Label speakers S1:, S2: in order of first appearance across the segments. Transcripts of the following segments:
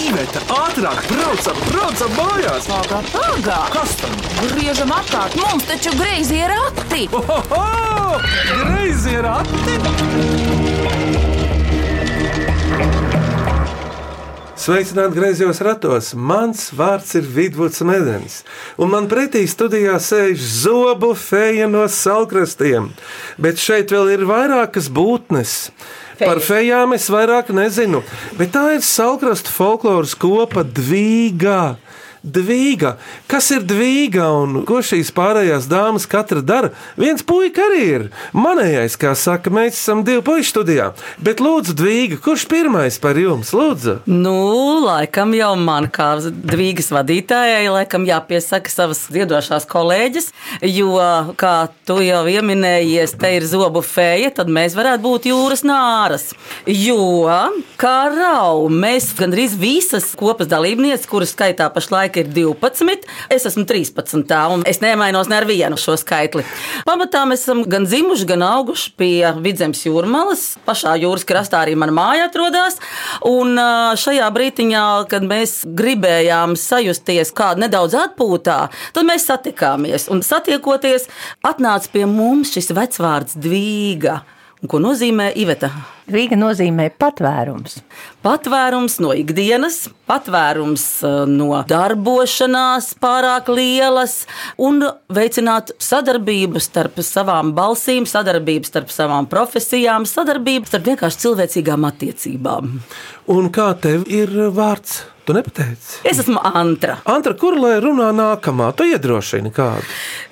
S1: Iveta, ātrāk, braucam, braucam mājās!
S2: Pagā, pagā!
S1: Kas tam?
S2: Griežam apkārt, mums taču greizi ir akti!
S1: Oho! Greizi ir akti!
S3: Sveicināti griezos ratos. Mans vārds ir Vidvuds Medens, un man pretī studijā sēž zobu feja no salkrastiem. Bet šeit vēl ir vairākas būtnes. Par fejām es vairāk nezinu, bet tā ir salkrastu folkloras kopa Dvīga. Dvīga. Kas ir dvīga un ko šīs pārējās dāmas katra dara? Viens puika arī ir. Manējais, kā saka, mēs esam divi puikas studijā. Bet lūdzu, dvīga, kurš pirmais par jums? Lūdzu!
S4: Nu, laikam jau man kā dvīgas vadītājai, laikam jāpiesaka savas ziedošās kolēģis, jo, kā tu jau pieminējies, te ir zobu feja, tad mēs varētu būt jūras nāras. Jo, kā rau, mēs gandrīz visas kopas dalībnieces, kuras skaitā pašlaik ir 12, es esmu 13, un es nemainos ne ar vienu šo skaitli. Pamatā mēs esam gan dzimuši, gan auguši pie vidzemes jūrmalas, pašā jūras krastā arī mana māja atrodas. Un ā, šajā brīdiņā, kad mēs gribējām sajusties kādā nedaudz atpūtā, tad mēs satikāmies. Un satiekoties, atnāca pie mums šis vecvārds Dvīga. Un Ko nozīmē Iveta?
S5: Rīga nozīmē patvērums.
S4: Patvērums no ikdienas, patvērums eh, no darbošanās, pārāk lielas, un veicināt sadarbību starp savām balsīm, sadarbību starp savām profesijām, sadarbību starp vienkārši cilvēcīgām attiecībām.
S3: Un kā tev ir eh, vārds? Tu nepateici.
S4: Es esmu Antra.
S3: Antra, kur lai runā nākamā? Tu iedrošini kādu.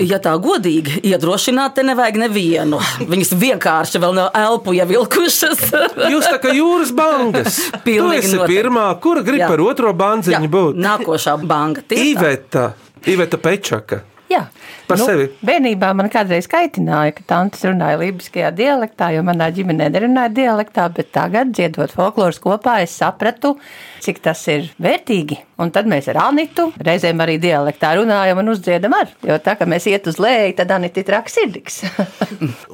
S4: Ja tā godīgi, iedrošināt, te nevajag nevienu. Viņas vienkārši vēl nav elpu ievilkušas.
S3: Jūs tā kā jūras bangas. tu
S4: Pilnīgi
S3: esi
S4: noteikti.
S3: pirmā, kura grib
S4: Jā.
S3: par otro bandziņu
S4: Jā,
S3: būt.
S4: Nākošā banka tieši tā.
S3: Iveta, Iveta Pečaka.
S5: Jā. nu,
S3: Par sevi?
S5: Bērnībā man kādreiz kaitināja, ka tantes runāja lībiskajā dialektā, jo manā ģimenē nerunāja dialektā, bet tagad, dziedot folkloras kopā, es sapratu, cik tas ir vērtīgi. Un tad mēs ar Anitu reizēm arī dialektā runājam un uzdziedam ar, jo tā, ka mēs iet uz lēju, tad Anita ir traks sirdiks.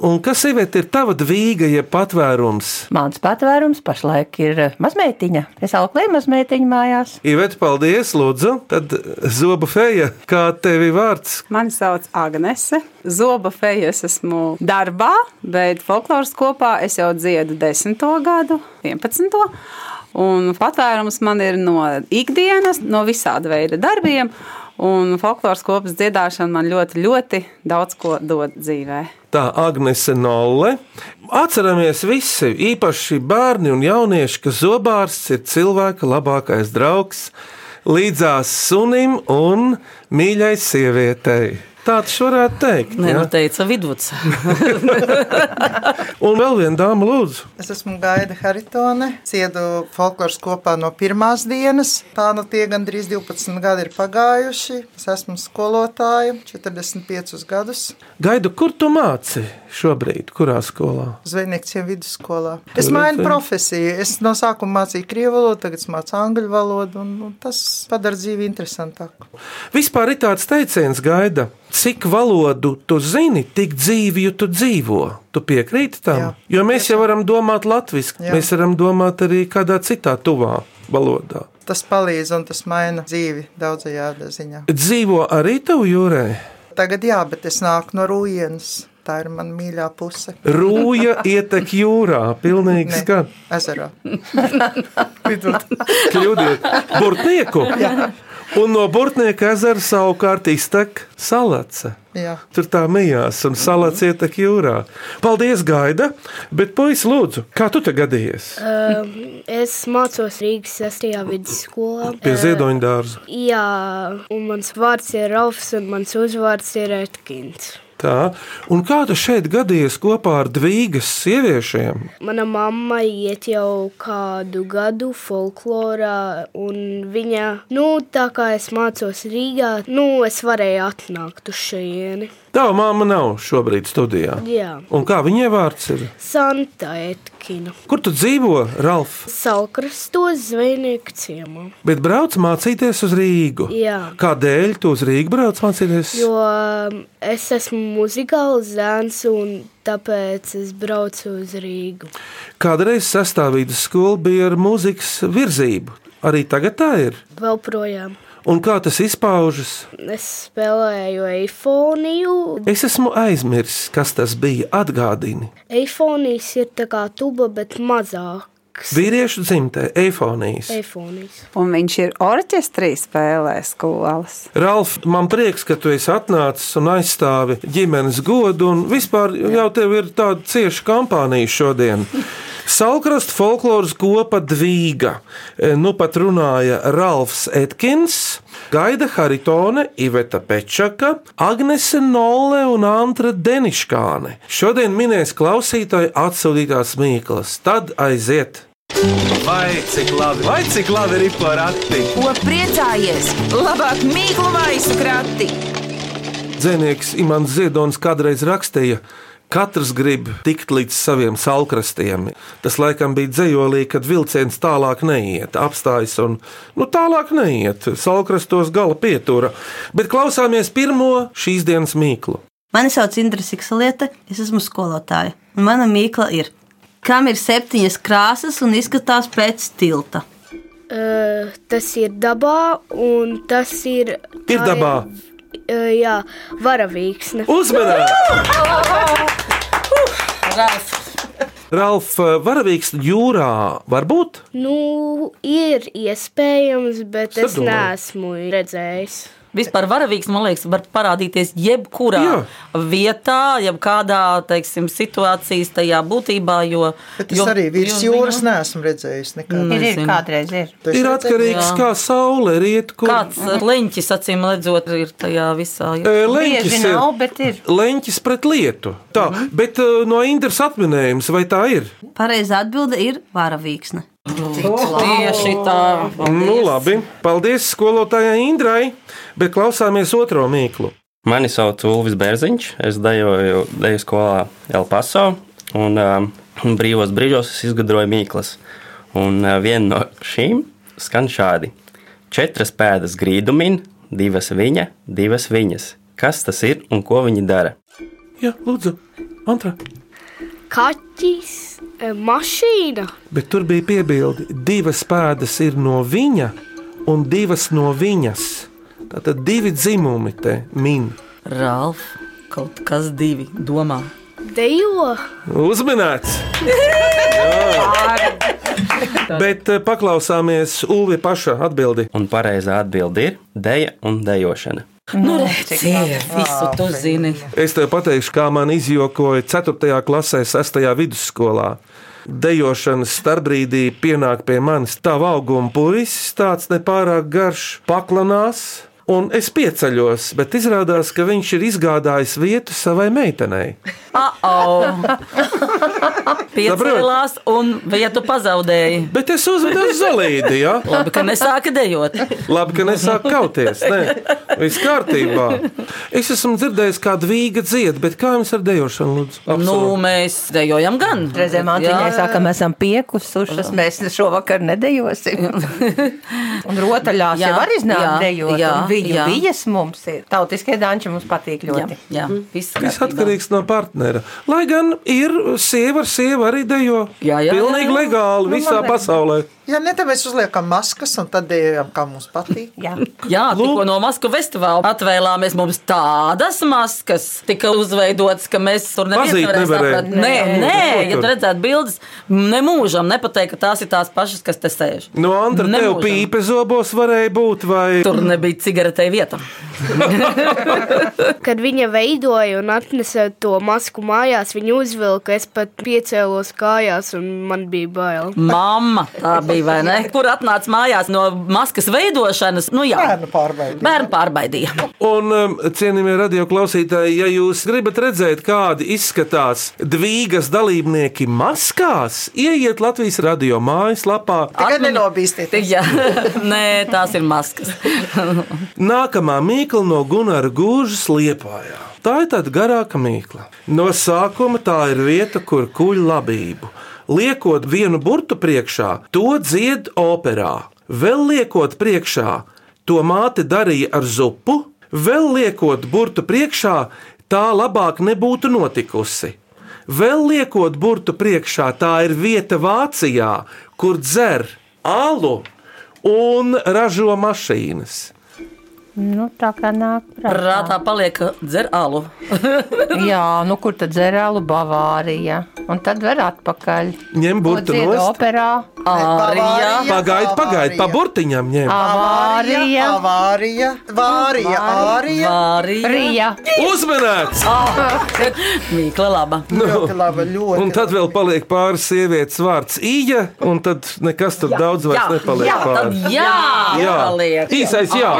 S3: Un kas Iveta, ir tava dvīga, jeb patvērums?
S5: Mans patvērums pašlaik ir mazmeitiņa. Es auklēju mazmeitiņu mājās.
S3: Iveta, paldies, lūdzu. Tad zobu feja, kā tevi vārds?
S6: Mani sauc Agnese. Zoba feja es esmu darbā, bet folkloras kopā es jau dziedu 10. gadu, 11. Un patvērums man ir no ikdienas, no visāda veida darbiem. Un folkloras kopas dziedāšana man ļoti, ļoti daudz ko dod dzīvē.
S3: Tā Agnese Nolle. Atceramies visi, īpaši bērni un jaunieši, ka zobārsts ir cilvēka labākais draugs, līdzās sunim un mīļai sievietei. Tā tas varētu teikt.
S4: Nē, nu
S3: jā.
S4: teica Vidvuds.
S3: Un vēl viena dāma, lūdzu.
S7: Es esmu Gaida Haritone, ciedu folkloras kopā no pirmās dienas. Tā nu tie gandrīz 12 gadi ir pagājuši. Es esmu skolotāja 45 gadus
S3: Gaidu, kur tu māci šobrīd, kurā skolā?
S7: zvejniekiem vidusskolā. Es mainu profesiju. Es no sākuma mācīju krievu valodu, tagad es mācu angļu valodu, un un tas padara dzīvi interesantāku.
S3: Vispār ir tāds teiciens, gaida, cik valodu tu zini, tik dzīvju tu dzīvo. Tu piekrīti tam? Jā.
S7: Jā.
S3: Jo mēs jau varam domāt latviešu,
S7: Jā.
S3: mēs varam domāt arī kādā citā tuvā valodā.
S7: Tas palīdz un tas maina dzīvi daudzajā ziņā.
S3: Dzīvo arī tev jūrē.
S7: Tagad jā, bet es nāku no Rūjienas. Tā ir mana mīļā puse.
S3: Rūja ietek jūrā, pilnīgi
S7: Ne,
S3: skan.
S7: Ezerā.
S3: Kļūdiet, burtnieku! Jā. Un no burtnieka ezera savukārt iztek salace.
S7: Jā.
S3: Tur tā mijās un salāts
S8: Mhm.
S3: ietek jūrā. Paldies, Gaida! Bet, puisis, lūdzu, kā tu te gadījies?
S8: Es mācos Rīgas 6. vidusskolā. Eh,
S3: Pie ziedoņa dārza.
S8: Jā, un mans vārds ir Rafs, un mans uzvārds ir Etkins.
S3: Tā. Un kā tu šeit gadījies kopā ar dvīgas sieviešiem?
S8: Mana mamma iet jau kādu gadu folklorā, un viņa, nu, tā kā es mācos Rīgā, nu, es varēju atnākt uz šejieni.
S3: Tava māma nav šobrīd studijā.
S8: Jā,
S3: Un kā viņai vārds ir?
S8: Santa Etkina.
S3: Kur tu dzīvo, Ralf?
S8: Salkrastos zvejnieku ciemā.
S3: Bet brauc mācīties uz Rīgu.
S8: Jā.
S3: Kādēļ tu uz Rīgu brauc mācīties?
S8: Jo um, es esmu muzikāls zēns, un tāpēc es braucu uz Rīgu.
S3: Kādreiz sastāvdaļas skola bija ar mūzikas virzību. Arī tagad tā ir.
S8: Vēl projām.
S3: Un kā tas izpaužas?
S8: Es spēlēju eifoniju.
S3: Es esmu aizmirsis, kas tas bija. Atgādini,
S8: Eifonijas ir tā kā tuba, bet mazāks.
S3: vīriešu dzimtē, eifonijas.
S8: Eifonijas.
S6: Un viņš ir orķestrī spēlē skolas.
S3: Ralf, man prieks, ka tu esi atnācis un aizstāvi ģimenes godu, un vispār jau tev ir tāda cieša kampānija šodien. Salkrasta folkloras kopa Dvīga. E, Nu pat runāja Ralfs Etkins, Gaida Haritone, Iveta Pečaka, Agnese Nolle un Antra Deniškāne. Šodien minēs klausītāju atsūtītās mīklas, tad aiziet!
S1: Vai cik labi, vai cik labi ir porati?
S2: Ko priecājies? Labāk mīklu maisu krati.
S3: Dzēnieks Imants Ziedonis kādreiz rakstīja, ka katrs grib tikt līdz saviem salkrastiem. Tas laikam bija dzējolī, kad vilciens tālāk neiet, apstājas un nu, tālāk neiet. Salkrastos gala pietura, bet klausāmies pirmo šīs dienas mīklu.
S9: Mani sauc Indra Siksaliete, es esmu skolotāja. Un mana mīkla ir, kam ir septiņas krāsas un izskatās pēc tilta.
S8: Uh, tas ir dabā, un tas ir.
S3: Ir dabā!
S8: Uh, jā, varavīksne.
S3: Uzmanīgi!
S4: Ralf.
S3: Ralf, varavīgs jūrā var būt?
S8: Nu, ir iespējams, bet es
S3: Sadomāju.
S8: neesmu redzējis.
S4: Vispār varavīgs, man liekas, var parādīties jebkurā Jā. vietā, jebkādā teiksim, situācijas tajā būtībā. Jo,
S7: Bet es arī virs jūras neesmu redzējis Nu, nekad.
S5: Ir, ir
S4: Nezinu.
S5: kādreiz ir.
S7: Tu esi
S3: Ir
S7: redzējis?
S3: atkarīgs,
S4: Jā.
S3: kā saule riet, kur
S4: Kāds
S5: Mhm.
S4: leņķis, acīm redzot, ir tajā visā.
S3: E,
S5: Bieži
S3: leņķis ir.
S5: nav, bet ir.
S3: Leņķis pret lietu. Tā, mm -hmm. bet eh, no Indras atminējums, vai tā ir?
S9: Pareizā atbilde ir varavīksne.
S4: Tieši tā.
S3: Nu, labi. Paldies skolotājai Indrai, bet klausāmies otro mīklu.
S10: Mani sauc Ulvis Bērziņš, es dejoju deju skolā Elpaso, un um, brīvos brīžos es izgudroju mīklas. Un uh, viena no šīm skan šādi: četras pēdas grīdumin, divas viņa, divas viņas. Kas tas ir un ko viņi dara?
S3: Jā, lūdzu, Antra.
S8: Kaķis, e, mašīna.
S3: Bet tur bija piebildi, divas pēdas ir no viņa un divas no viņas. Tātad divi dzimumi te min.
S4: Ralf, kaut kas divi domā.
S8: Dejo,
S3: Uzminēts! Jā. Bet eh, paklausāmies Ulvi paša atbildi.
S10: Un pareizā atbilde ir dēja un dējošana.
S4: Nu, redziet, visu tu zini.
S3: Es tev pateikšu, kā man izjokoja 4. klasē, 6. vidusskolā. Dejošanas starpbrīdī pienāk pie manis tā auguma puisis, tāds nepārāk garš, paklanās. Un es pieceļos, bet izrādās, ka viņš ir izgādājis vietu savai meitenei.
S4: Uh-oh. Piecēlās, un ja tu pazaudēji,
S3: Bet es uzvedu zelīdi, ja?
S4: labi, ka nesāki dejot.
S3: Labi, ka nesāk kauties. Ne? Viss kārtībā. Es esmu dzirdējis, kāda vīga dzied, bet kā jums ar dejošanu, lūdzu?
S4: Nu,
S3: Absolūti.
S4: mēs dejojam gan.
S5: Reizēm Antīņai
S4: Jā.
S5: saka, mēs esam piekusušas, mēs šovakar nedejosim. un rotaļās
S4: Jā,
S5: jau var iznākt
S4: jā,
S5: dejot,
S4: jā,
S5: un viņu
S4: jā.
S5: vijas mums ir. Tautiskie danči mums patīk
S4: Jā,
S5: ļoti.
S4: jā, viss
S3: Viss
S4: kārtībā.
S3: atkarīgs no partnera. Lai gan ir sieva, ar sievu arī dejo.
S4: Jā, jā,
S3: Pilnīgi
S4: jā, Nu, jā.
S3: legāli visā pasaulē.
S7: Jā, ne tā mēs uzliekam maskas un tad dejojam, kā mums patīk.
S5: Jā.
S4: Jā, tikko no Maskavas festivāla atvēlāmies. Mums tādas maskas tika uzveidotas, ka mēs tur
S3: Pazīt
S4: nevienam
S3: nevarēja.
S4: Nē, nē,
S3: Ko
S4: ja
S3: tur?
S4: tu redzētu bildes, nemūžam nepateikt, ka tās ir tās pašas, kas te sēž.
S3: No Andra, Nu, tev
S4: Nemūžam.
S3: pīpe zobos varēja būt, vai
S4: Tur nebija cigaretē vieta.
S8: kad viņa veidoja un atnesa to masku mājās, viņa uzvilka. Es pat piecēlos kājās, un man bija bail.
S4: Mama, tā bija vai ne? Kur atnāca mājās no maskas veidošanas? Nu, jā,
S7: Bērnu pārbaudīt.
S4: Bērnu pārbaudīja.
S3: Un, um, cienījamie radioklausītāji, ja jūs gribat redzēt, kādi izskatās dvīgas dalībnieki maskās, ieiet Latvijas radio mājaslapā.
S7: Tikai
S4: Atmiņa-
S7: nenobīsties.
S4: Jā, nē, tās ir maskas.
S3: Nākamā mīkla no Gunara Gūžas liepājā. Tā ir tāda garāka mīkla. No sākuma tā ir vieta, kur kuļ labību. Liekot vienu burtu priekšā, to dzied operā. Vēl liekot priekšā, to māte darīja ar zupu, vēl liekot burtu priekšā, tā labāk nebūtu notikusi. Vēl liekot burtu priekšā, tā ir vieta Vācijā, kur dzer alu un ražo mašīnas.
S5: Nu, tā kā nāk prātā.
S4: Prātā paliek ka dzer alu.
S5: Jā, nu kur tad dzērālu Bavārija? Un tad var atpakaļ.
S3: Ņem burtu
S5: Dzied
S3: nost.
S5: operā.
S4: Arī
S3: Pagaid, pagaid, pa burtiņām ņem.
S5: Avārija.
S7: Avārija, vārija, ārija.
S4: arī
S5: Rija.
S3: Uzmanīts!
S4: mīkla laba. Nu,
S7: Ļoti labi, ļoti.
S3: Un tad vēl paliek pāris sievietes vārds īja, un tad nekas tur daudz vairs nepaliek pāri.
S4: Jā, jā.
S3: Jā,
S4: paliek.
S3: īsais jā.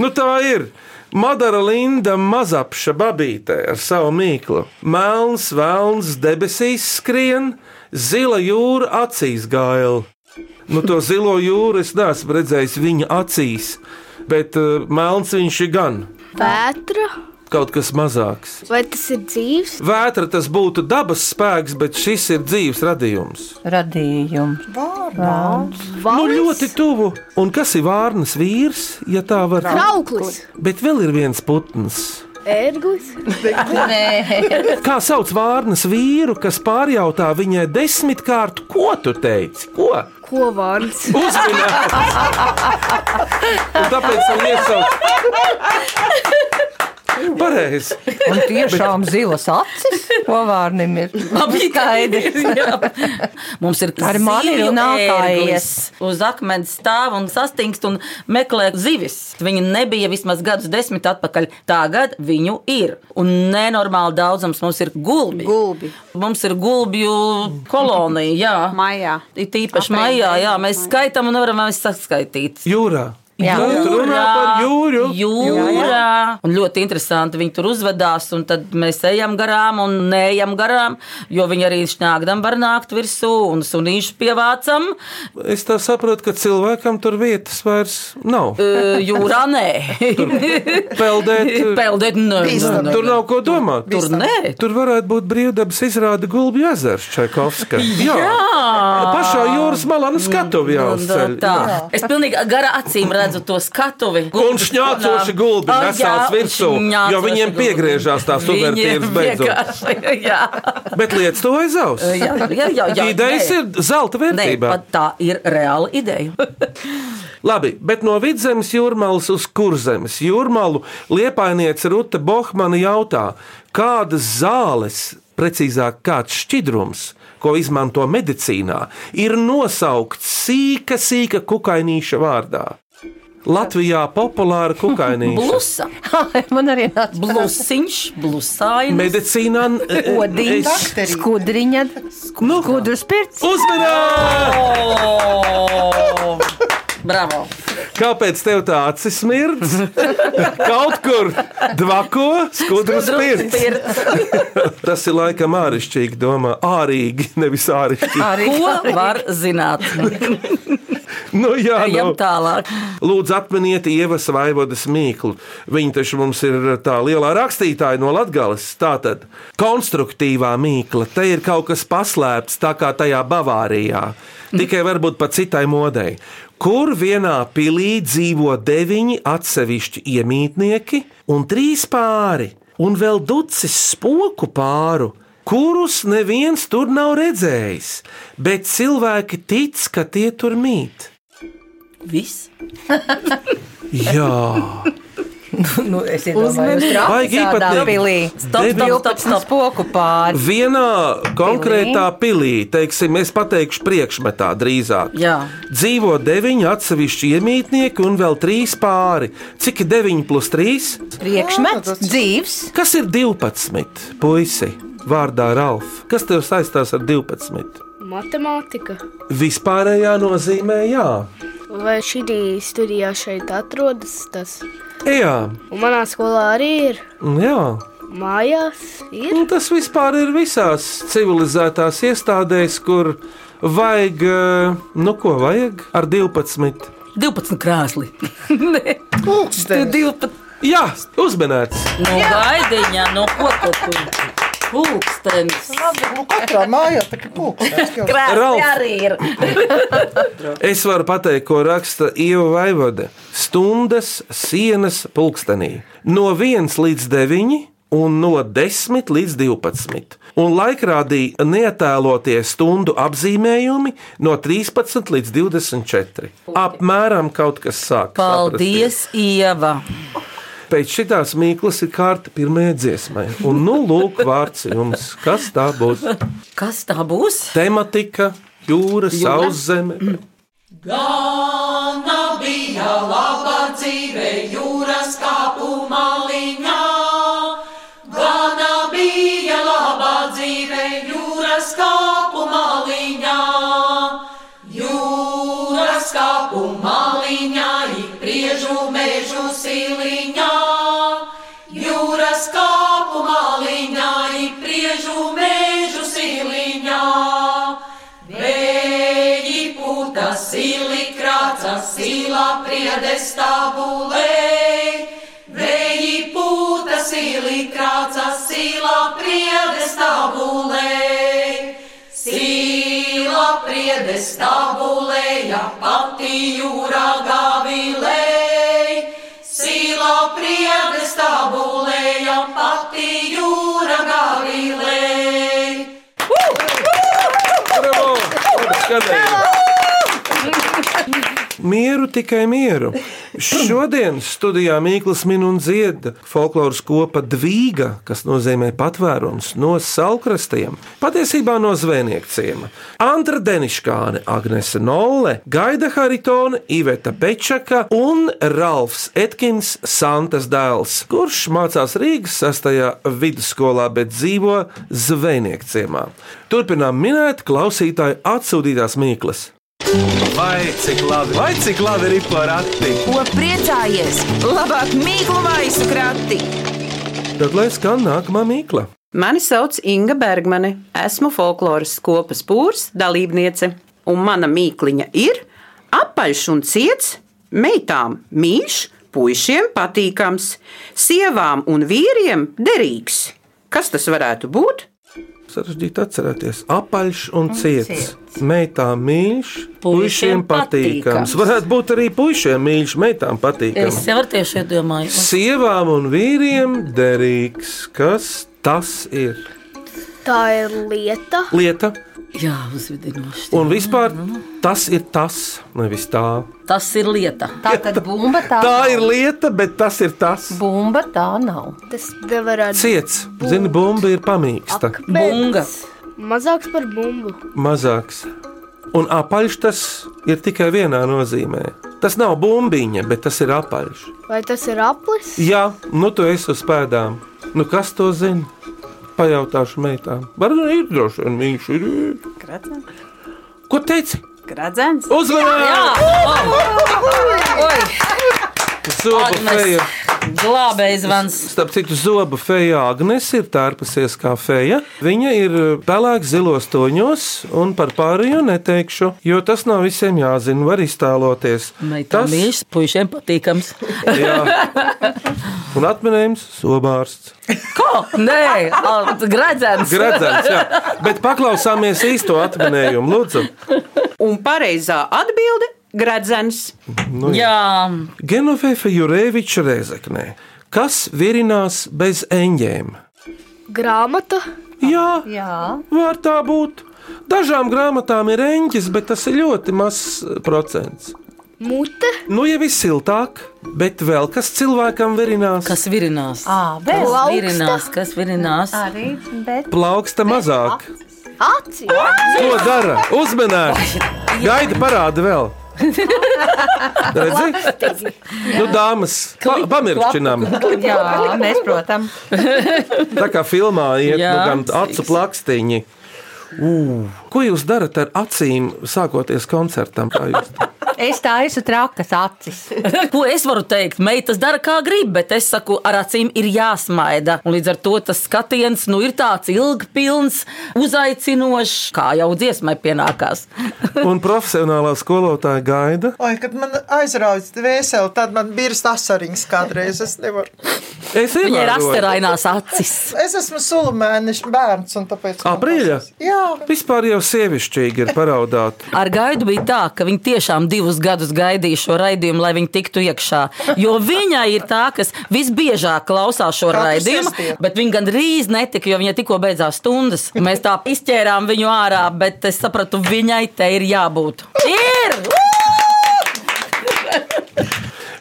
S3: Nu tā ir. Madara Linda mazapša babīte ar savu mīklu. Melns, velns debesīs skrien, zila jūra acīs gaila. Nu, to zilo jūru es neesmu redzējis viņa acīs, bet uh, melns viņš ir gan
S8: Vētra,
S3: kaut kas mazāks.
S8: vai tas ir dzīves?
S3: Vētra tas būtu dabas spēks, bet šis ir dzīves radījums.
S5: Radījums. Vārds.
S3: Nu, ļoti tuvu. Un kas ir vārnas vīrs, ja tā var teikt?
S8: Krauklis,
S3: Bet vēl ir viens putns.
S8: ērglis,
S5: Nē,
S3: Kā sauc vārnas vīru, kas pārjautā viņai desmitkārt, ko tu teici? Ko?
S8: kovārns.
S3: Uzmanīgi! Tāpēc man iesauc. Pareizi!
S5: un tiešām zilas acis. Ko vārnim ir?
S4: Labi, jā. Mums ir
S5: Ar mani
S4: zivju
S5: runātājies.
S4: ērglis. Uz akmens stāv un sastingst un meklē zivis. Viņa nebija vismaz gadus desmit atpakaļ. Tagad viņu ir. Un nenormāli daudzums mums ir gulbi.
S6: Gulbi.
S4: Mums ir gulbju kolonija. Jā.
S6: Maijā.
S4: Ir tīpaši maijā, jā, mēs skaitām un nevaram vairs saskaitīt.
S3: Jūrā!
S5: Jā.
S3: Nu, tu Runā par jūru!
S4: Jūrā. Un ļoti interesanti viņi tur uzvedās. un Tad mēs ejam garām un neejam garām, jo viņi arī šņāgdam var nākt virsū un sunīšu pievācam.
S3: Es tā saprotu, ka cilvēkam tur vietas vairs nav.
S4: E, Jūrā nē.
S3: Peldēt,
S4: Peldēt, nē, nē, nē.
S3: Tur nav ko domāt.
S4: Tur nē.
S3: Tur varētu būt brīvdabas izrāde Gulbju ezers Čaikovska. Jā. Pašā jūras malā nu skatuvi jau
S4: Un,
S3: uzceļ.
S4: tā.
S3: Jā.
S4: Es pilnīgi garā acīm redzu to skatuvi.
S3: Un šņācoši gulbi
S4: Ah,
S3: nesās
S4: jā,
S3: virsū,
S4: šņācoši
S3: jo viņiem
S4: gulbi.
S3: piegriežās tās
S4: Viņiem
S3: uvertīras beidzot.
S4: vienkārši, Jā.
S3: Bet lietas to aizaus.
S4: Jā, jā, jā, jā,
S3: Idejas
S4: nē.
S3: ir zelta
S4: Nē,
S3: vērtībā.
S4: pat tā ir reāla ideja.
S3: Labi, bet no vidzemes jūrmālas uz kurzemes jūrmālu liepainieca Ruta Bohmana jautā, kādas zāles, precīzāk, kāds šķidrums, ko izmanto medicīnā, ir nosaukts sīka, sīka kukainīša vārdā. Latvijā populāra kukainīša.
S4: Blusa.
S5: Man arī nāca
S4: Blusiņš, blusainis.
S3: Medicīnā
S5: Odiņa, skudriņa,
S3: Nu,
S5: skudrs pirts.
S3: uzmanīgi!
S4: O! Bravo!
S3: Kāpēc tev tā acis smirdz? Kaut kur dvako skudras pirts. Tas ir laikam āršķirīgi, domā, ārīgi, nevis āršķirīgi.
S5: Arī
S4: Ko var zināt?
S3: Nu, jā,
S4: Ejam
S3: nu.
S4: tālāk.
S3: Lūdzu, atminiet Ievas vaivodas mīklu. Viņa taču mums ir tā lielā rakstītāja no Latgales. Tātad, konstruktīvā mīkla, te ir kaut kas paslēpts, tā kā tajā Bavārijā. Tikai varbūt pa citai modei. Kur vienā pilī dzīvo deviņi atsevišķi iemītnieki un trīs pāri, un vēl ducis spoku pāru, kurus neviens tur nav redzējis, bet cilvēki tic, ka tie tur mīt.
S4: Viss.
S3: Jā.
S5: nu, es iedomājos,
S6: Uzmanīgi.
S3: Baigi
S5: Traki tādā
S3: īpatnība.
S5: pilī.
S4: Stop,
S3: Debi-
S4: stop, stop,
S5: Tāpēc
S4: stop.
S5: spoku pāri.
S3: Vienā konkrētā pilī, teiksim, es pateikšu, priekšmetā drīzāk,
S4: Jā.
S3: dzīvo deviņi atsevišķi iemītnieki un vēl trīs pāri. Cik ir deviņi plus trīs?
S5: Priekšmets, dzīves.
S3: Kas ir 12? Puisi, vārdā Ralf. Kas tev saistās ar 12?
S8: Matemātika.
S3: Vispārējā nozīmē, jā.
S8: Vai šī studijā šeit atrodas tas?
S3: Jā,
S8: Un manā skolā arī ir.
S3: jā.
S8: Mājās ir.
S3: Un tas vispār ir visās civilizētās iestādēs, kur vajag, eh, nu ko vajag ar 12.
S4: 12 krēsli. Nē,
S7: Pūkstens.
S4: 12.
S3: Jā, uzmanīts.
S4: Nu, gaidiņā, no ko tu tur? Pūkstens.
S7: Nu, katrā mājā tā kā pūkstens. jau.
S4: Krēsli
S3: Ralf.
S4: arī ir.
S3: Es varu pateikt, ko raksta Ieva Vaivode. Stundas sienas pulkstenī. No 1 līdz 9. Un no 10 līdz 12. un laikrādī neatēlotie stundu apzīmējumi no 13 līdz 24. Apmēram kaut kas sākas.
S4: Paldies, Ieva!
S3: Pēc šitās mīklas ir kārta pirmajai dziesmai. Un, nu, lūk, vārds jums. Kas tā būs?
S4: Kas tā būs?
S3: Tematika, jūra, sauszeme.
S11: Gana bija laba dzīve jūras kāpu maliņā. Gana bija laba dzīve jūras kāpu maliņā. Jūras kāpu maliņā ik priežu mežu siliņā. Jūras kāpu maliņā ik priežu mežu siliņā. Vēji pūta sili krāca, sila priedes tabulē. Vēji pūta sili krāca, sila priedes tabulē. Sila priedes tabulē, ja pati jūra gavilē. Sila priedes tabulē, ja pati jūra gavilē.
S3: Bravo! Labi skanēja! Mieru tikai mieru. Šodien studijā Mīkls min un dzied folkloras kopa dvīga, kas nozīmē patvērums no salkrastiem, patiesībā no zvejnieku ciema. Antra Deniškāne, Agnese Nolle, Gaida Haritone, Iveta Pečaka un Ralfs Etkins, Santas dēls, kurš mācās Rīgas 6. vidusskolā, bet dzīvo zvejnieku ciemā. Turpinām minēt klausītāju atsūtītās Mīklas.
S1: Vai cik labi, vai cik labi ir porakti?
S2: Ko priecājies? Labāk mīklu maisu krati!
S3: Tad lai skan nākamā mīkla.
S6: Mani sauc Inga Bergmane. Esmu folkloras kopas pūrs, dalībniece. Un mana mīkliņa ir apaļš un ciets, meitām mīļš, puišiem patīkams, sievām un vīriem derīgs. Kas tas varētu būt?
S3: Sarežģīti atcerēties, apaļš un ciets. Meitām mīļš, puišiem patīkams.
S4: patīkams.
S3: Varētu būt arī puišiem mīļš, meitām
S4: Es
S3: patīkams.
S4: jau ar tieši iedomājos.
S3: Sievām un vīriem derīgs, kas tas ir.
S8: Tā ir lieta.
S3: Lieta,
S4: Jā, uzvedinoši.
S3: un vispār tas ir tas, nevis tā.
S4: Tas ir lieta.
S5: Tā tad bumba tā,
S3: Tā
S5: nav.
S3: ir lieta, bet tas ir tas.
S5: Bumba tā nav.
S8: Tas nevarētu
S3: Ciets, zini, bumba ir pamīksta,
S4: Bunga.
S8: būt mazāks par bumbu.
S3: mazāks. Un apaļš tas ir tikai vienā nozīmē. Tas nav bumbiņa, bet tas ir apaļš.
S8: Vai tas ir aplis?
S3: Jā, nu tu esi uz pēdām. Nu, kas to zina? Pajautāšu meitām. Varbūt ir droši vien viņš ir. Ko teici?
S6: Gradzens.
S3: Uzmanīgi! Zobu
S4: Agnes.
S3: feja.
S4: Glābēji zvans.
S3: Starp citu, zobu feja Agnes ir tērpusies kā feja. Viņa ir eh, pelēk zilos toņos, un par pārējo neteikšu, jo tas nav visiem jāzina. Var iztēloties.
S4: Meitām mīļš, puišiem patīkams.
S3: Jā. Un atminējums - sobārsts.
S4: Ko? Nē, al- gredzens.
S3: Gredzens, jā. Bet paklausāmies īsto atminējumu, lūdzu.
S6: Un pareizā atbilde - gradzens.
S3: Nu, jā.
S4: Jā,
S3: Genovefa Jurēviča Rezeknē. Kas virinās bez eņģēm?
S8: Grāmata.
S3: Jā,
S5: Jā,
S3: var tā būt. Dažām grāmatām ir eņģis, bet tas ir ļoti mazs eh, procents.
S8: Mute.
S3: Nu, jau viss siltāk, bet vēl kas cilvēkam virinās?
S4: kas virinās?
S5: à, vēl
S8: Lauksta.
S4: Virinās, kas virinās?
S5: arī, bet
S3: Plauksta mazāk.
S8: Acis.
S3: Ko dara? Uzmanīgi! Gaida parāda vēl! Redzi? Nu, dāmas, pa, pamiršķinām.
S5: jā, mēs, protams,
S3: Tā kā filmā ir nu,
S4: Jā,
S3: gan acu plakstiņi. Ū, Ko jūs darat ar acīm, sākoties koncertam? Kā jūs to
S5: es tā esmu trakas acis.
S4: Ko es varu teikt? Meitas dara, kā grib, bet es saku, ar acīm ir jāsmaida. Un līdz ar to tas skatiens nu, ir tāds ilgpilns, uzaicinošs, kā jau dziesmai pienākās.
S3: darāt? Un profesionālā skolotāja gaida.
S7: Oi, kad man aizraujas dvēseli, tad man bija asariņas kādreiz. Es, nevaru.
S3: Es
S4: Viņai ir
S3: ievēroju.
S4: asterainās acis.
S7: es esmu sulumēnišs bērns, un tāpēc. man
S3: Aprīļa?
S7: tas- Jā,
S3: Vispār jau sievišķīgi ir paraudāt.
S4: Ar gaidu bija tā, ka viņi tiešām divus gadus gaidīju šo raidījumu, lai viņi tiktu iekšā. Jo viņa ir tā, kas visbiežāk klausās šo
S2: Katru
S4: raidījumu,
S2: sestdienu.
S4: bet viņa gandrīz netika, jo viņa tikko beidzās stundas. Mēs tā izķērām viņu ārā, bet es sapratu, viņai te ir jābūt. Ir!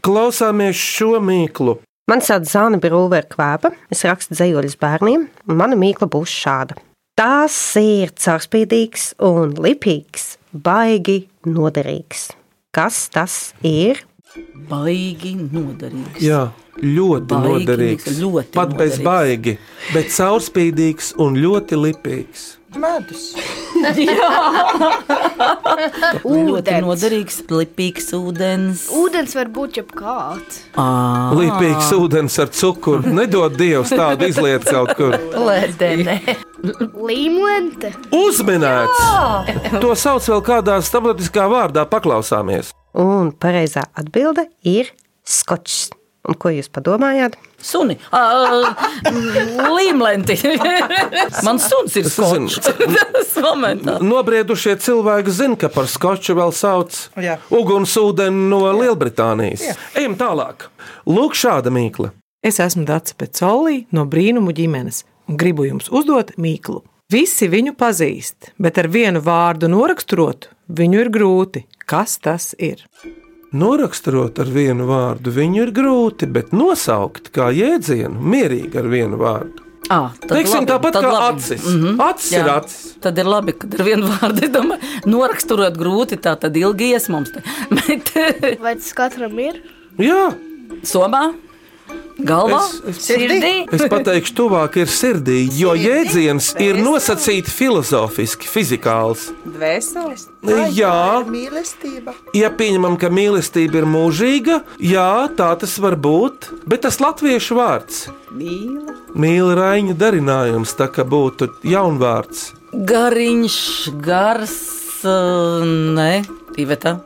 S3: Klausāmies šo mīklu.
S12: Mani sauc Zāna Brūvera Kvēpa, es rakstu dzējoļus bērniem, un mana mīkla būs šāda. Tās ir caurspīdīgs un lipīgs, baigi noderīgs. Kas tas ir?
S4: Baigi noderīgi.
S3: Jā, ļoti
S4: Baigi,
S3: noderīgs.
S4: ļoti
S3: Pat bez
S4: noderīgs.
S3: baigi, bet caurspīdīgs un ļoti lipīgs.
S7: Medus.
S4: Ļoti noderīgs, lipīgs ūdens.
S8: Ūdens var būt jebkāds.
S4: Ah.
S3: Lipīgs ūdens ar cukuru. Nedod Dievs tādu izliet kaut kur.
S8: Lēdene. Līmlente.
S3: Uzminēts! To sauc vēl kādā starptautiskā vārdā, paklausāmies.
S12: Un pareizā atbilde ir skočs. Un ko jūs padomājāt?
S4: Suni, uh, līmlenti. Man suns ir skočs. Tas momentā.
S3: Nobriedušie cilvēki zina, ka par skoču vēl sauc
S7: Jā.
S3: ugunsūdeni no Lielbritānijas.
S13: Jā.
S3: Ejam tālāk. Lūk, šāda mīkla.
S13: Es esmu Dārsa Pecolī no brīnumu ģimenes un gribu jums uzdot mīklu. Visi viņu pazīst, bet ar vienu vārdu noraksturot, viņu ir grūti. Kas tas ir?
S3: Noraksturot ar vienu vārdu, viņu ir grūti, bet nosaukt kā jēdzienu mierīgi ar vienu vārdu.
S4: À,
S3: Nu, Teiksim, tāpat kā acis. Acis ir acis.
S4: Mhm. Tad ir labi, ka ir viena vārda. Es domāju, noraksturot grūti, tā tad ilgi ies mums. te. Bet,
S8: Vai tas katram ir?
S3: Jā,
S4: Somā, galvā,
S3: Es- es-
S4: sirdī.
S3: Es pateikšu, tuvāk ir sirdī, jo jēdziens ir nosacīts filozofiski, fizikāls.
S6: Dvēseles.
S3: Jā.
S7: Mīlestība.
S3: Ja pieņemam, ka mīlestība ir mūžīga, jā, tā tas var būt, bet tas latviešu vārds
S6: Mīla.
S3: - mīlestības raiņa darinājums, tā kā būtu jaunvārds.
S4: Gariņš, gars, uh, nē, Iveta.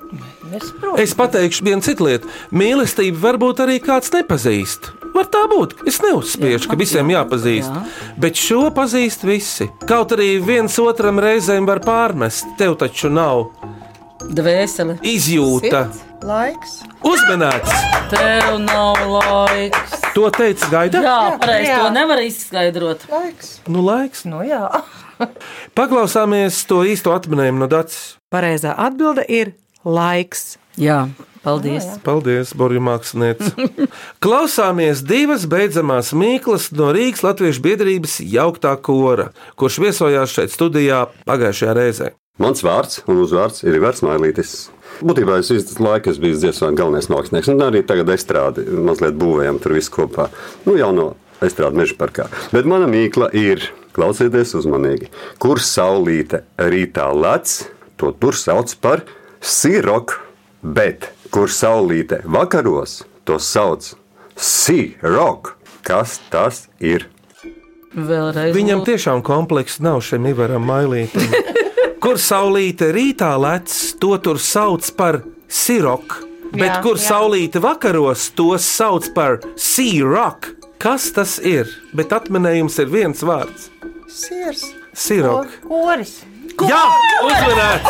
S3: Es pateikšu vienu citu lietu. Mīlestība varbūt arī kāds nepazīst. Var tā būt. Es neuzspiežu, ka visiem jāpazīst. Bet šo pazīst visi. Kaut arī viens otram reizēm var pārmest. Tev taču nav
S4: Dvēsele.
S3: izjūta.
S7: Laiks.
S3: Uzmanīts!
S4: Tev nav laiks.
S3: To teica Gaida.
S4: Jā, pareizi. To nevar izskaidrot.
S7: Laiks.
S3: Nu, laiks.
S5: Nu, jā.
S3: Paklausāmies to īsto atminējumu no Dācis.
S13: Pareizā atbilde ir laiks.
S4: Jā, paldies.
S3: Paldies, Borja Mākslinieci. Klausāmies divas beidzamās mīklas no Rīgas Latviešu biedrības jauktā kora, kurš viesojās šeit studijā pagājušajā reizē.
S14: Mans vārds un uzvārds ir Ivars Mailītis. Būtībā es visu laiku esmu bijis dziesmu galvenais mākslinieks, un arī tagad estrādi mazliet būvējam tur visu kopā. Nu, jau no estrādi meža parkā. Bet mana mīkla ir, klausieties uzmanīgi, kur saulīte rītā lec, to tur sauc par siroku, bet kur saulīte vakaros, to sauc siroku. Kas tas ir?
S4: Vēlreiz.
S3: Viņam tiešām komplekss nav šim Ivaram Mailītam. Kur saulīte rītā lec, to tur sauc par siroku, bet
S14: Jā,
S3: jā, kur
S14: jā.
S3: jā. saulīte vakaros, to sauc par siroku. Kas tas ir? Bet atminējums ir viens vārds
S7: Sirs.
S3: - sirok.
S5: Koris.
S3: Jā, uzmanīts!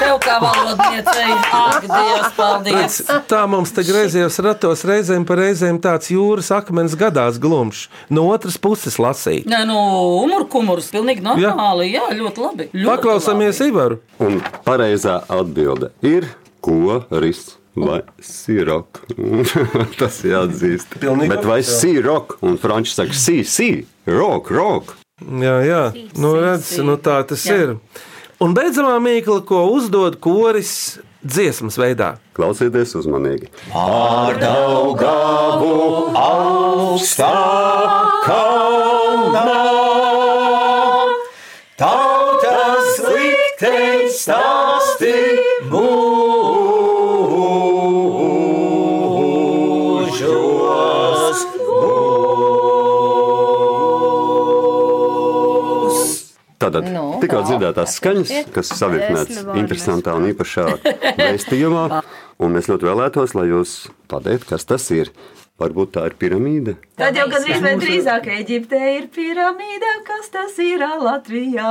S4: Tev kā valodniecei, ak, Dievs, paldies!
S3: Redz, Tā mums te griezījās ratos reizēm, pa reizēm tāds jūras akmens gadās glumšs. No otras puses lasīt.
S4: Nē, nu, umurkumurs, pilnīgi normāli, jā, ļoti labi. Ļoti
S3: Paklausāmies Ivaru.
S14: Un pareizā atbilde ir koris. Vai sirok? Tas jāatzīst.
S3: Pilnīgi
S14: Bet vai
S3: oficiāli.
S14: sirok? Un franči saka, sī, sī, rok, rok.
S3: Jā, jā. Nu, redz, nu tā tas jā. ir. Un beidzamā mīkla, ko uzdod koris dziesmas veidā.
S14: Klausieties uzmanīgi.
S11: Pārdaugavu augstā kalnā. Tautas likteņ stāsti mūžos būs.
S14: Tātad
S11: Nu,
S14: tikko
S11: tā.
S14: dzirdētās skaņas, kas savietnētas
S11: Desmit vārdi
S14: interesantā un īpašā vēstījumā. Un mēs ļoti vēlētos, lai jūs pateikt, kas tas ir. Varbūt tā ir piramīda.
S15: Tad jau gandrīz vai drīzāk Eģiptē ir piramīda, kas tas ir Latvijā.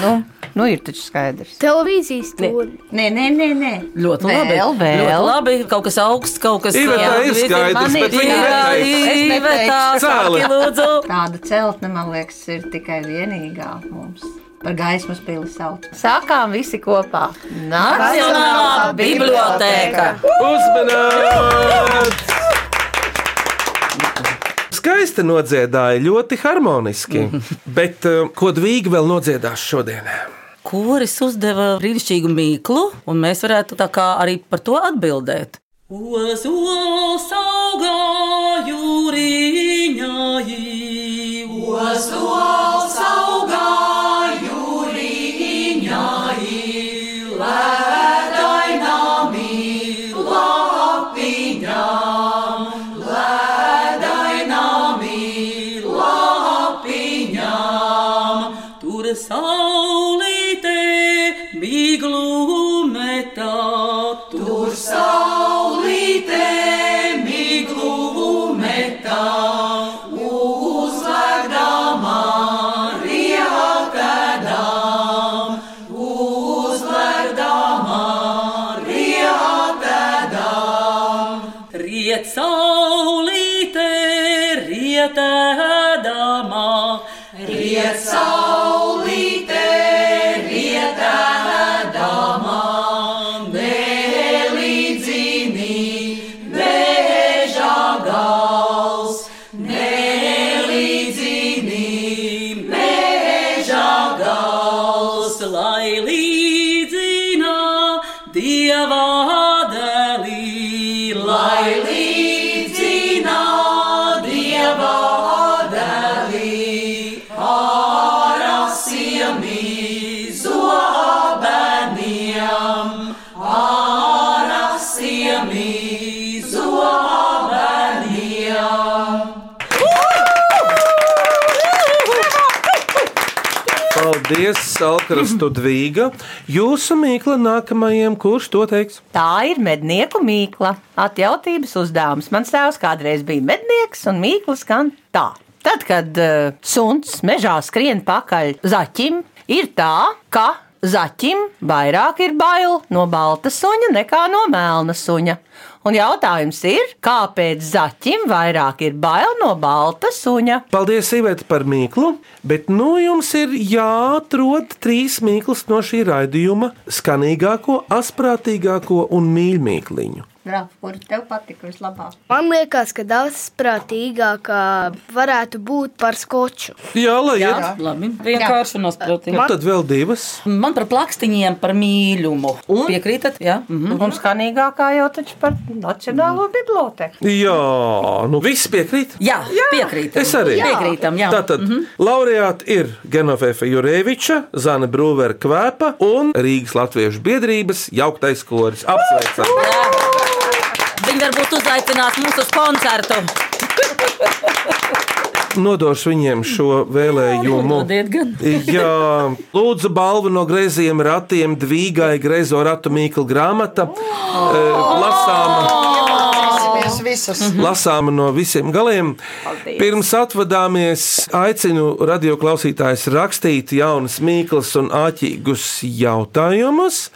S5: Nu, nu ir taču skaidrs.
S8: Televīzijas stūri.
S9: Nē, nē, nē. nē.
S4: Ļoti
S5: Vēl,
S4: labi.
S5: vēl.
S4: Ļoti labi. Kaut kas augsts, kaut kas
S3: Ivetā
S4: Jā,
S3: ir
S4: visi-
S3: skaidrs,
S4: man
S3: bet
S4: ir-
S3: viņa
S4: Jā,
S3: neteiktu. Es neteiktu.
S4: Ivetā, saki,
S3: Cēli.
S4: lūdzu.
S9: Tāda celtne, man liekas, ir tikai vienīgā mums par gaismas pili sauc.
S5: Sākām visi kopā.
S9: Nacionālā bibliotēka.
S3: Uzmanības! Skaisti nodziedāja, ļoti harmoniski. Bet eh, ko dvīgi vēl nodziedās šodien?
S4: Kuris uzdeva brīnišķīgu mīklu, un mēs varētu tā kā arī par to atbildēt.
S11: Ozols auga jūriņā jī. Ozols auga jūriņā jī. Lēdainām ir lapiņām. Lēdainām ir lapiņām. Tur saulītē miglu metā. Tur saulītē miglu metā. Uzvērdām Marijā tēdām. Uzvērdām Marijā tēdām. Riet saulītē, riet ēdamā. Riet saulītē, riet ēdamā. Nelīdzini meža gals, nelīdzini meža gals, lai līdzina dieva dēlī, lai līdzina dieva dēlī, ārasiem izobeniem. Ārā siemi zobeniem.
S3: Paldies, Salkrastu Dvīga. Jūsu mīkla nākamajam, kurš to teiks?
S5: Tā ir mednieku mīkla. Atjautības uzdevums. Mans tēvs kādreiz bija mednieks, un mīkla skan tā. Tad, kad uh, suns mežā skrien pakaļ zaķim, ir tā, ka zaķim vairāk ir bail no balta suņa nekā no melna suņa. Un jautājums ir, kāpēc zaķim vairāk ir bail no balta suņa?
S3: Paldies, Iveta, par mīklu, bet nu jums ir jāatrod trīs mīklas no šī raidījuma - skanīgāko, asprātīgāko un mīļākāko.
S8: Graf, kur tev patika vislabāk? Man liekas, ka daudz prātīgākā varētu būt par skoču.
S3: Jā, lai
S4: Jā,
S3: iet.
S4: labi. Vienkārši un
S3: Un
S4: asprātīgi.
S3: tad vēl divas.
S4: Man par plakstiņiem, par mīļumu. Un? Piekrītat? Jā, mm
S3: Mhm.
S4: -hmm.
S5: un skanīgākā jau taču par Nacionālo
S8: Mm.
S5: biblioteku.
S3: Jā, nu viss piekrīt.
S4: Jā, jā. piekrītam.
S3: Es arī
S4: Jā. Piekrītam, jā. Mhm.
S3: Tātad mm -hmm. laureāti ir Genoveva Jurēviča, Zana Brūvera Kvēpa un Rīgas Latviešu biedrības jauktais koris. Apsveicam!
S4: Viņi varbūt uzaicinās mūsu koncertu.
S3: Nodošu viņiem šo vēlējumu.
S4: Nododiet gan.
S3: Jā, lūdzu, balvu no grezījuma ratiem, dvīgai grezo ratu mīklu grāmata.
S4: Oh!
S3: eh, Lasāma.
S7: Mācīsimies visas.
S3: Lasāma no visiem galiem. Paldies. Pirms atvadāmies, aicinu radioklausītājus rakstīt jaunas mīklas un āķīgus jautājumus.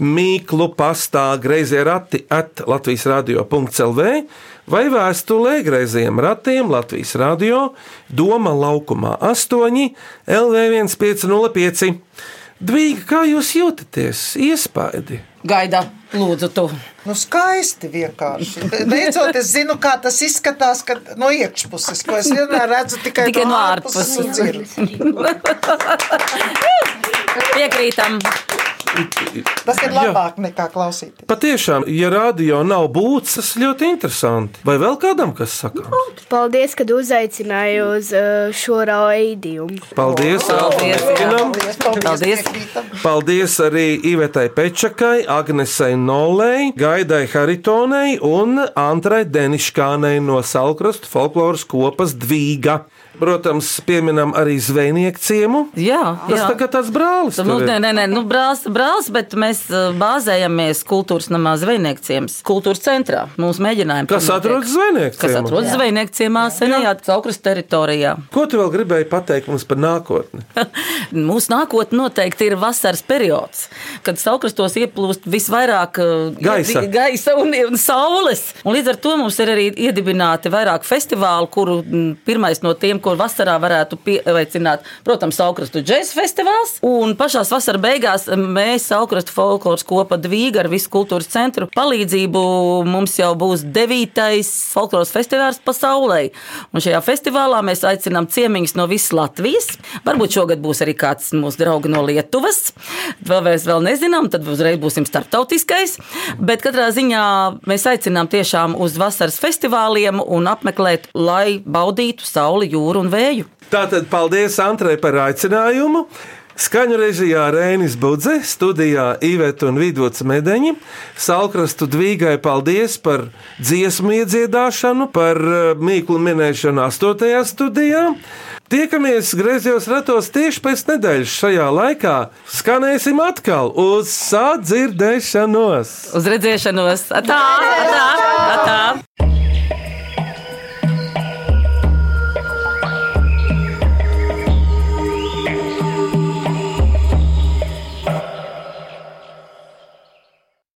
S3: Mīklu pastā grazē rati at Latvijas radio.clv vai vēstulē grazējiem ratiem Latvijas radio Doma laukumā 8 LV1505. Dvīgi, kā jūs jūtaties? Iespaidi!
S4: Gaida, lūdzu, tu.
S7: Nu, skaisti vienkārši. Beidzot, es zinu, kā tas izskatās kad, no iekšpuses, ko es vienmēr redzu tikai,
S4: Tikai no
S7: ārpuses un dzirdu.
S4: Piekrītam.
S7: Tas ir labāk nekā klausīties.
S3: Patiešām, ja radio nav būts, tas ļoti interesanti. Vai vēl kādam kas saka?
S8: Paldies, ka uzaicināji uz eh, šo raidījumu.
S3: Paldies,
S4: Oh,
S8: Paldies, jā.
S3: Alfrēdam!
S8: Paldies.
S3: Paldies arī Ivetai Pečakai, Agnesei Nolei, Gaidai Haritonei un Antrai Deniškānei no Salkrastu folkloras kopas Dvīga. Protams, pieminam arī zvejnieku ciemu.
S4: Jā,
S3: Tas
S4: jā.
S3: tā kā tas brālis.
S4: Nu,
S3: tur ir.
S4: nē, nē, nē, nu, brālis, brālis, bet mēs uh, bāzējamies kultūras namā zvejnieku ciems, kultūras centrā. Mums mēģinājumi.
S3: Kas
S4: tur notiek.
S3: atrodas
S4: Kas
S3: zvejnieku ciemā.
S4: atrodas
S3: Jā.
S4: zvejnieku ciemā, senajā caukras teritorijā.
S3: Ko tu vēl gribēji pateikt mums par nākotni?
S4: Mūsu nākotnē noteikti ir vasaras periods, kad saukrastos ieplūst visvairāk uh,
S3: Gaisa.
S4: iedi- gaisa un, un saules. Un līdz ar to mums ir arī iedibināti vairāk festivālu, kuru mm, pirmais no tiem, ko vasarā varētu pieveicināt, protams, saukrastu džēzus festivāls. Un pašā vasarā beigās mēs saukrastu folkloras kopa Dvīga ar visu kultūras centru palīdzību mums jau būs devītais folkloras festivāls pasaulē. Un šajā festivālā mēs aicinām ciemiņus no visas Latvijas. Varbūt šogad būs arī kāds mūsu draugi no Lietuvas. Vēl mēs vēl nezinām, tad uzreiz būsim starptautiskais. Bet katrā ziņā mēs aicinām tiešām uz vasaras festivāliem un apmeklēt, lai baudītu sauli, jūru un vēju.
S3: Tātad paldies Antrai par aicinājumu. Skaņu režijā Rēnis Budze, studijā Iveta un Vidots Medeņi. Salkrastu Dvīgai paldies par dziesmu iedziedāšanu, par eh, mīklu minēšanu 8. studijā. Tiekamies griezos ratos tieši pēc nedēļas šajā laikā. Skanēsim atkal uz sadzirdēšanos!
S4: Uz redzēšanos! Atā, atā, atā.